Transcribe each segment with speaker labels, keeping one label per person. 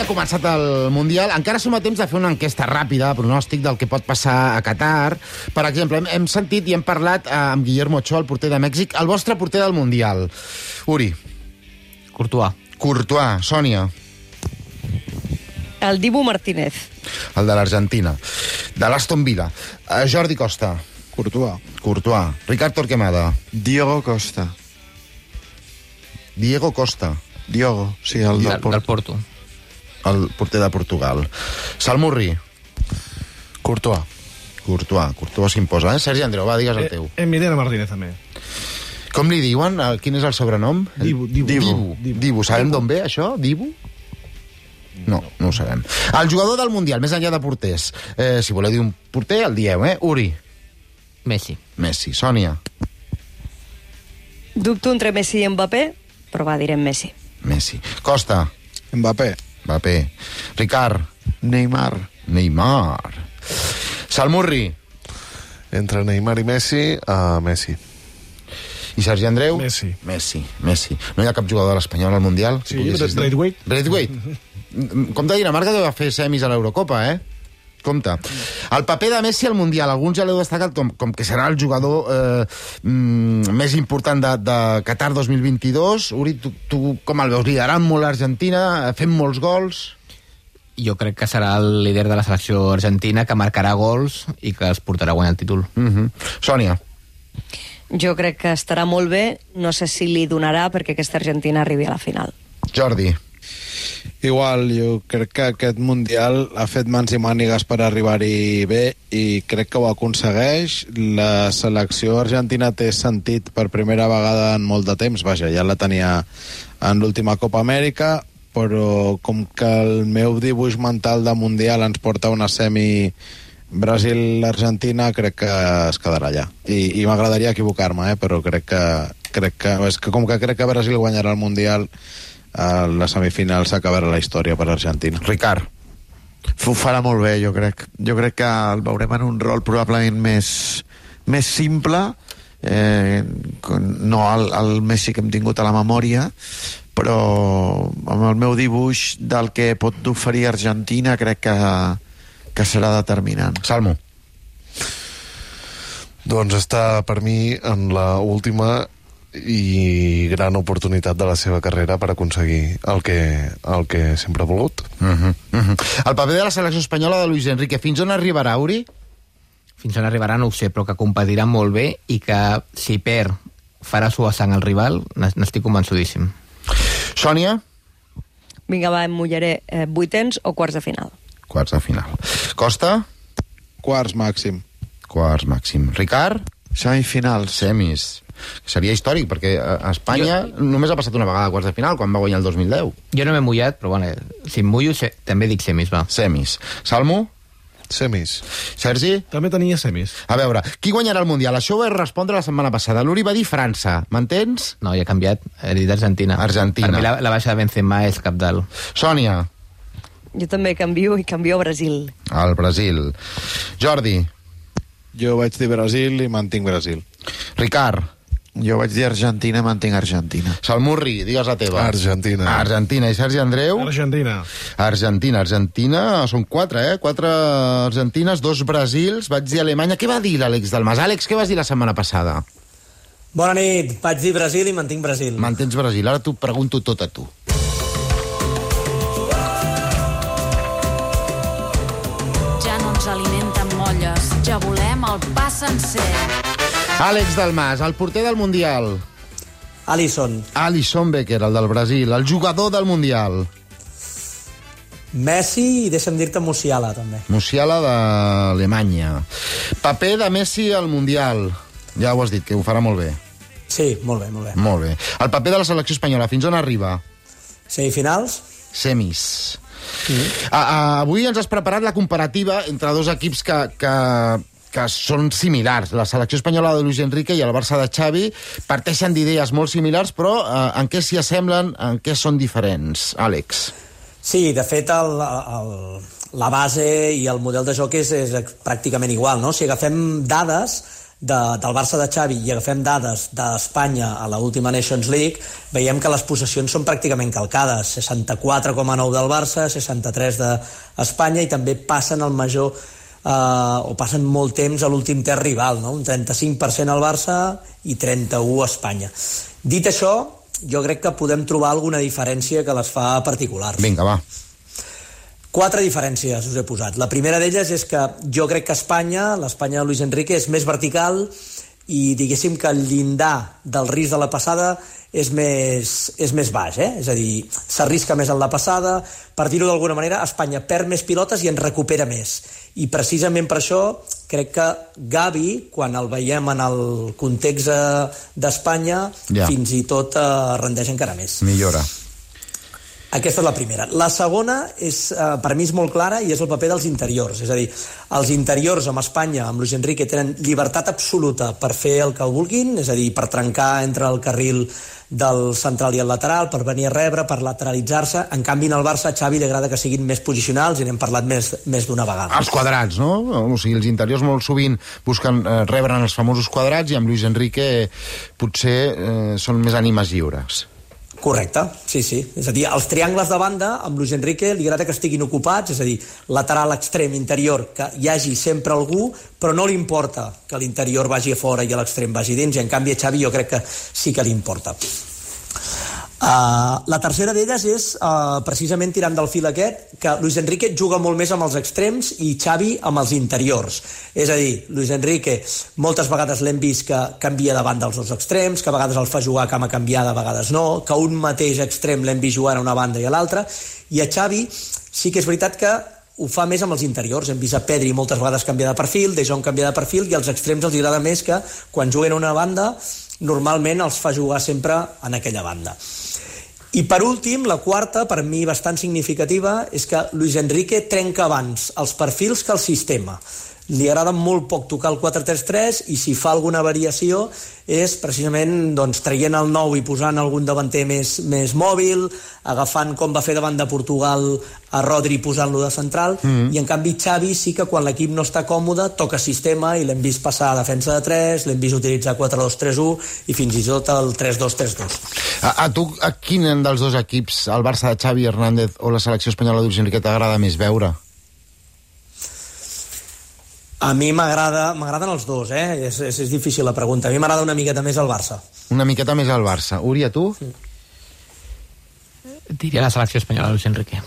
Speaker 1: ha començat el Mundial. Encara som a temps de fer una enquesta ràpida, pronòstic del que pot passar a Qatar. Per exemple, hem, hem sentit i hem parlat eh, amb Guillermo Ochoa, el porter de Mèxic, el vostre porter del Mundial. Uri,
Speaker 2: Courtois.
Speaker 1: Courtois, Sònia,
Speaker 3: El Dibu Martínez.
Speaker 1: el de l'Argentina, de l'Aston Villa, eh, Jordi Costa,
Speaker 4: Courtois.
Speaker 1: Courtois, Ricard Torquemada,
Speaker 4: Diogo Costa.
Speaker 1: Diego Costa,
Speaker 4: Diogo, sí, el
Speaker 2: Del,
Speaker 4: del
Speaker 2: del
Speaker 4: Porto.
Speaker 2: Porto.
Speaker 1: el porter de Portugal, Salmurri,
Speaker 4: Courtois.
Speaker 1: Courtois, Courtois s'imposa, eh? Sergi Andreu, va, digues el teu.
Speaker 5: Eh, Emiliano Martínez, també.
Speaker 1: Com li diuen? Eh, Quin és el sobrenom?
Speaker 5: Dibu, Dibu.
Speaker 1: Dibu. Dibu.
Speaker 5: Dibu.
Speaker 1: Dibu. Sabem d'on ve, això? Dibu? No, no ho sabem. El jugador del Mundial, més enllà de porters. Eh, si voleu dir un porter, el dieu, eh? Uri,
Speaker 2: Messi.
Speaker 1: Messi, Sònia,
Speaker 3: Dubto entre Messi i Mbappé, però va, direm Messi.
Speaker 1: Messi. Costa,
Speaker 4: Mbappé.
Speaker 1: Mbappé. Ricard,
Speaker 4: Neymar.
Speaker 1: Neymar. Salmurri
Speaker 6: Entre Neymar i Messi, a Messi.
Speaker 1: i Sergi Andreu.
Speaker 5: Messi.
Speaker 1: Messi, Messi. No hi ha cap jugador de l'Espanyol al Mundial?
Speaker 5: Sí, Braithwaite.
Speaker 1: Braithwaite. Mm-hmm. Com de Dinamarca deu fer semis a l'Eurocopa, eh? Compte. El paper de Messi al Mundial, alguns ja l'heu destacat com, com que serà el jugador eh, mm, més important de, de Qatar 2022. Uri, tu, tu com el veus? Liderant molt l'Argentina, fent molts gols...
Speaker 2: Jo crec que serà el líder de la selecció argentina que marcarà gols i que els portarà a guanyar el títol.
Speaker 1: Mm -hmm. Sònia,
Speaker 3: Jo crec que estarà molt bé, no sé si li donarà perquè aquesta Argentina arribi a la final.
Speaker 1: Jordi,
Speaker 4: Igual, jo crec que aquest Mundial ha fet mans i mànigues per arribar-hi bé i crec que ho aconsegueix. La selecció argentina té sentit per primera vegada en molt de temps, vaja, ja la tenia en l'última Copa Amèrica, però com que el meu dibuix mental de Mundial ens porta a una semi Brasil-Argentina, crec que es quedarà allà. I, i m'agradaria equivocar-me, eh? però crec que, crec que, és que com que crec que Brasil guanyarà el Mundial, a la semifinal s'acabarà la història per Argentina.
Speaker 1: Ricard,
Speaker 7: Ho farà molt bé, jo crec. Jo crec que el veurem en un rol probablement més, més simple, eh, con- no el, el Messi que hem tingut a la memòria, però amb el meu dibuix del que pot oferir Argentina crec que, que serà determinant.
Speaker 1: Salmo.
Speaker 6: Doncs està, per mi, en la última i gran oportunitat de la seva carrera per aconseguir el que, el que sempre ha volgut.
Speaker 1: Uh -huh. Uh -huh. El paper de la selecció espanyola de Luis Enrique, fins on arribarà, Uri?
Speaker 2: Fins on arribarà no ho sé, però que competirà molt bé i que si perd farà suar sang al rival, n'es- n'estic convençudíssim.
Speaker 1: Sònia?
Speaker 3: Vinga, va, em mullaré eh, vuitens o quarts de final.
Speaker 1: Quarts de final. Costa?
Speaker 4: Quarts màxim.
Speaker 1: Quarts màxim. Ricard?
Speaker 7: Semifinals.
Speaker 1: Semis. Seria històric, perquè eh, a Espanya jo... només ha passat una vegada a quarts de final, quan va guanyar el 2010.
Speaker 2: Jo no m'he mullat, però bueno, si em mullo se, també dic semis, va.
Speaker 1: Semis. Salmo?
Speaker 6: Semis.
Speaker 1: Sergi?
Speaker 5: També tenia semis.
Speaker 1: A veure, qui guanyarà el Mundial? Això ho vaig respondre la setmana passada. L'Uri va dir França. M'entens?
Speaker 2: No, ja he canviat, he dit Argentina.
Speaker 1: Argentina.
Speaker 2: Per mi la, la baixa de Benzema és cap dalt.
Speaker 1: Sònia?
Speaker 3: Jo també canvio i canvio a Brasil.
Speaker 1: El Brasil. Jordi?
Speaker 4: Jo vaig dir Brasil i mantinc Brasil.
Speaker 1: Ricard?
Speaker 7: Jo vaig dir Argentina, mantinc Argentina.
Speaker 1: Salmurri, digues la teva.
Speaker 6: Argentina.
Speaker 1: Argentina. I Sergi Andreu?
Speaker 5: Argentina.
Speaker 1: Argentina, Argentina, són quatre, eh? Quatre argentines, dos brasils, vaig dir Alemanya. Què va dir l'Àlex Dalmas? Àlex, què vas dir la setmana passada?
Speaker 8: Bona nit, vaig dir Brasil i mantinc Brasil.
Speaker 1: Mantens Brasil, ara t'ho pregunto tot a tu.
Speaker 9: Ja no ens alimenten molles, ja volem el pa sencer.
Speaker 1: Àlex Dalmas, el porter del Mundial.
Speaker 8: Alisson,
Speaker 1: Alisson Becker, el del Brasil, el jugador del Mundial.
Speaker 8: Messi i deixa'm dir-te Musiala, també.
Speaker 1: Musiala d'Alemanya. Paper de Messi al Mundial. Ja ho has dit, que ho farà molt bé.
Speaker 8: Sí, molt bé, molt bé.
Speaker 1: Molt bé. El paper de la selecció espanyola, fins on arriba?
Speaker 8: Semifinals?
Speaker 1: semis. A, a, avui ens has preparat la comparativa entre dos equips que, que, que són similars. La selecció espanyola de Luis Enrique i el Barça de Xavi parteixen d'idees molt similars, però eh, en què s'hi assemblen, en què són diferents, Àlex?
Speaker 8: Sí, de fet, el, el, la base i el model de joc és, és pràcticament igual, no? Si agafem dades, de, del Barça de Xavi i agafem dades d'Espanya a la última Nations League, veiem que les possessions són pràcticament calcades, 64,9 del Barça, 63 d'Espanya i també passen el major eh, o passen molt temps a l'últim ter rival, no? un 35% al Barça i 31 a Espanya. Dit això, jo crec que podem trobar alguna diferència que les fa particulars.
Speaker 1: Vinga, va.
Speaker 8: Quatre diferències us he posat. La primera d'elles és que jo crec que Espanya, l'Espanya de Luis Enrique, és més vertical i diguéssim que el llindar del risc de la passada és més, és més baix, eh? és a dir, s'arrisca més en la passada, per dir-ho d'alguna manera, Espanya perd més pilotes i en recupera més. I precisament per això crec que Gavi, quan el veiem en el context eh, d'Espanya,
Speaker 1: Ja.
Speaker 8: ja. fins i tot eh, rendeix encara més.
Speaker 1: Millora.
Speaker 8: Aquesta és la primera. La segona, és, eh, per mi és molt clara, i és el paper dels interiors. És a dir, els interiors amb Espanya, amb Luis Enrique, tenen llibertat absoluta per fer el que vulguin, és a dir, per trencar entre el carril del central i el lateral, per venir a rebre, per lateralitzar-se. En canvi, en el Barça, a Xavi li agrada que siguin més posicionals, i n'hem parlat més, més d'una vegada.
Speaker 1: Els quadrats, no? O sigui, els interiors molt sovint busquen eh, rebren els famosos quadrats i amb Luis Enrique eh, potser eh, són més ànimes lliures.
Speaker 8: Correcte, sí, sí. És a dir, els triangles de banda, amb Luis Enrique, li agrada que estiguin ocupats, és a dir, lateral, extrem, interior, que hi hagi sempre algú, però no li importa que l'interior vagi a fora i a l'extrem vagi dins, i en canvi a Xavi jo crec que sí que li importa. Uh, la tercera d'elles és, uh, precisament tirant del fil aquest, que Luis Enrique juga molt més amb els extrems i Xavi amb els interiors. És a dir, Luis Enrique moltes vegades l'hem vist que canvia davant dels dos extrems, que a vegades el fa jugar a cama canviada, a vegades no, que un mateix extrem l'hem vist jugant a una banda i a l'altra, i a Xavi sí que és veritat que ho fa més amb els interiors. Hem vist a Pedri moltes vegades canviar de perfil, De Jong canviar de perfil, i als extrems els agrada més que quan juguen a una banda normalment els fa jugar sempre en aquella banda. I per últim, la quarta, per mi bastant significativa, és que Luis Enrique trenca abans els perfils que el sistema. Li agrada molt poc tocar el 4-3-3 i si fa alguna variació és precisament doncs, traient el 9 i posant algun davanter més, més mòbil, agafant com va fer davant de Portugal a Rodri posant-lo de central, mm. i en canvi Xavi sí que quan l'equip no està còmode toca sistema i l'hem vist passar a defensa de 3, l'hem vist utilitzar 4-2-3-1 i fins i tot el 3-2-3-2.
Speaker 1: A, a tu, a quin dels dos equips, el Barça de Xavi Hernández o la selecció espanyola de Luis Enrique, t'agrada més veure?
Speaker 8: A mi m'agrada m'agraden els dos, eh? És, és, és difícil la pregunta. A mi m'agrada una miqueta més el Barça.
Speaker 1: Una miqueta més al Barça. Uri, a tu?
Speaker 2: Diria la selecció espanyola, Luis Enrique.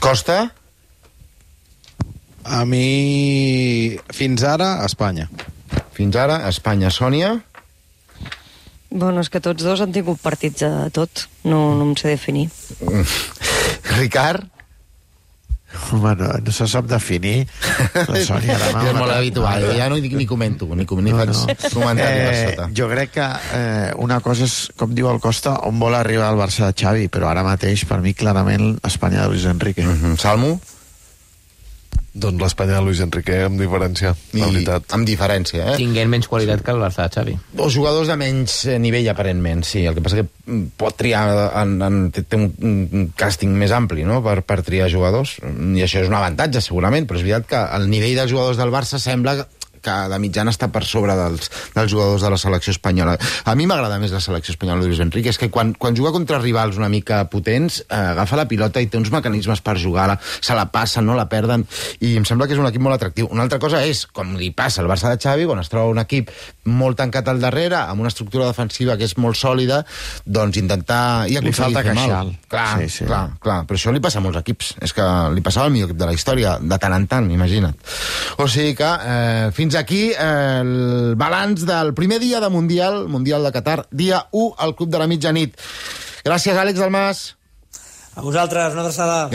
Speaker 1: Costa?
Speaker 4: A mi, fins ara, a Espanya.
Speaker 1: Fins ara, Espanya, Sònia.
Speaker 3: Bueno, és que tots dos han tingut partits de tot. No, no em sé definir.
Speaker 1: Mm. Ricard?
Speaker 7: Home, no, no se sap definir. La Sònia, la
Speaker 1: és molt habitual, eh? jo ja no hi dic ni comento, ni, com- ni no, faig no. comentari eh, per sota.
Speaker 7: jo crec que eh, una cosa és, com diu el Costa, on vol arribar el Barça de Xavi, però ara mateix, per mi, clarament, Espanya de Luis Enrique. Mm
Speaker 1: Mhm. Salmo?
Speaker 6: Doncs l'Espanya de Luis Enrique, amb diferència, I... la veritat.
Speaker 1: Amb diferència, eh?
Speaker 2: Tinguent menys qualitat que el Barça de Xavi.
Speaker 1: O jugadors de menys eh, nivell, aparentment, sí. El que passa que mm, pot triar, en, en, té, té un, un càsting més ampli, no?, per, per triar jugadors, Mm, i això és un avantatge, segurament, però és veritat que el nivell dels jugadors del Barça sembla que de mitjana està per sobre dels, dels jugadors de la selecció espanyola. A mi m'agrada més la selecció espanyola de Luis Enrique, és que quan, quan juga contra rivals una mica potents, eh, agafa la pilota i té uns mecanismes per jugar, la, se la passen, no la perden, i em sembla que és un equip molt atractiu. Una altra cosa és, com li passa al Barça de Xavi, quan es troba un equip molt tancat al darrere, amb una estructura defensiva que és molt sòlida, doncs intentar... I
Speaker 7: Li
Speaker 1: aconseguir
Speaker 7: falta
Speaker 1: fer mal.
Speaker 7: queixal.
Speaker 1: Clar, sí,
Speaker 7: Sí,
Speaker 1: sí.
Speaker 7: sí.
Speaker 1: clar, clar, però això li passa a molts equips. És que li passava al millor equip de la història, de tant en tant, imagina't. O sigui que eh, fins aquí eh, el balanç del primer dia de Mundial, Mundial de Qatar, dia 1 al Club de la Mitjanit. Gràcies, Àlex Dalmas.
Speaker 8: A vosaltres, una adreçada.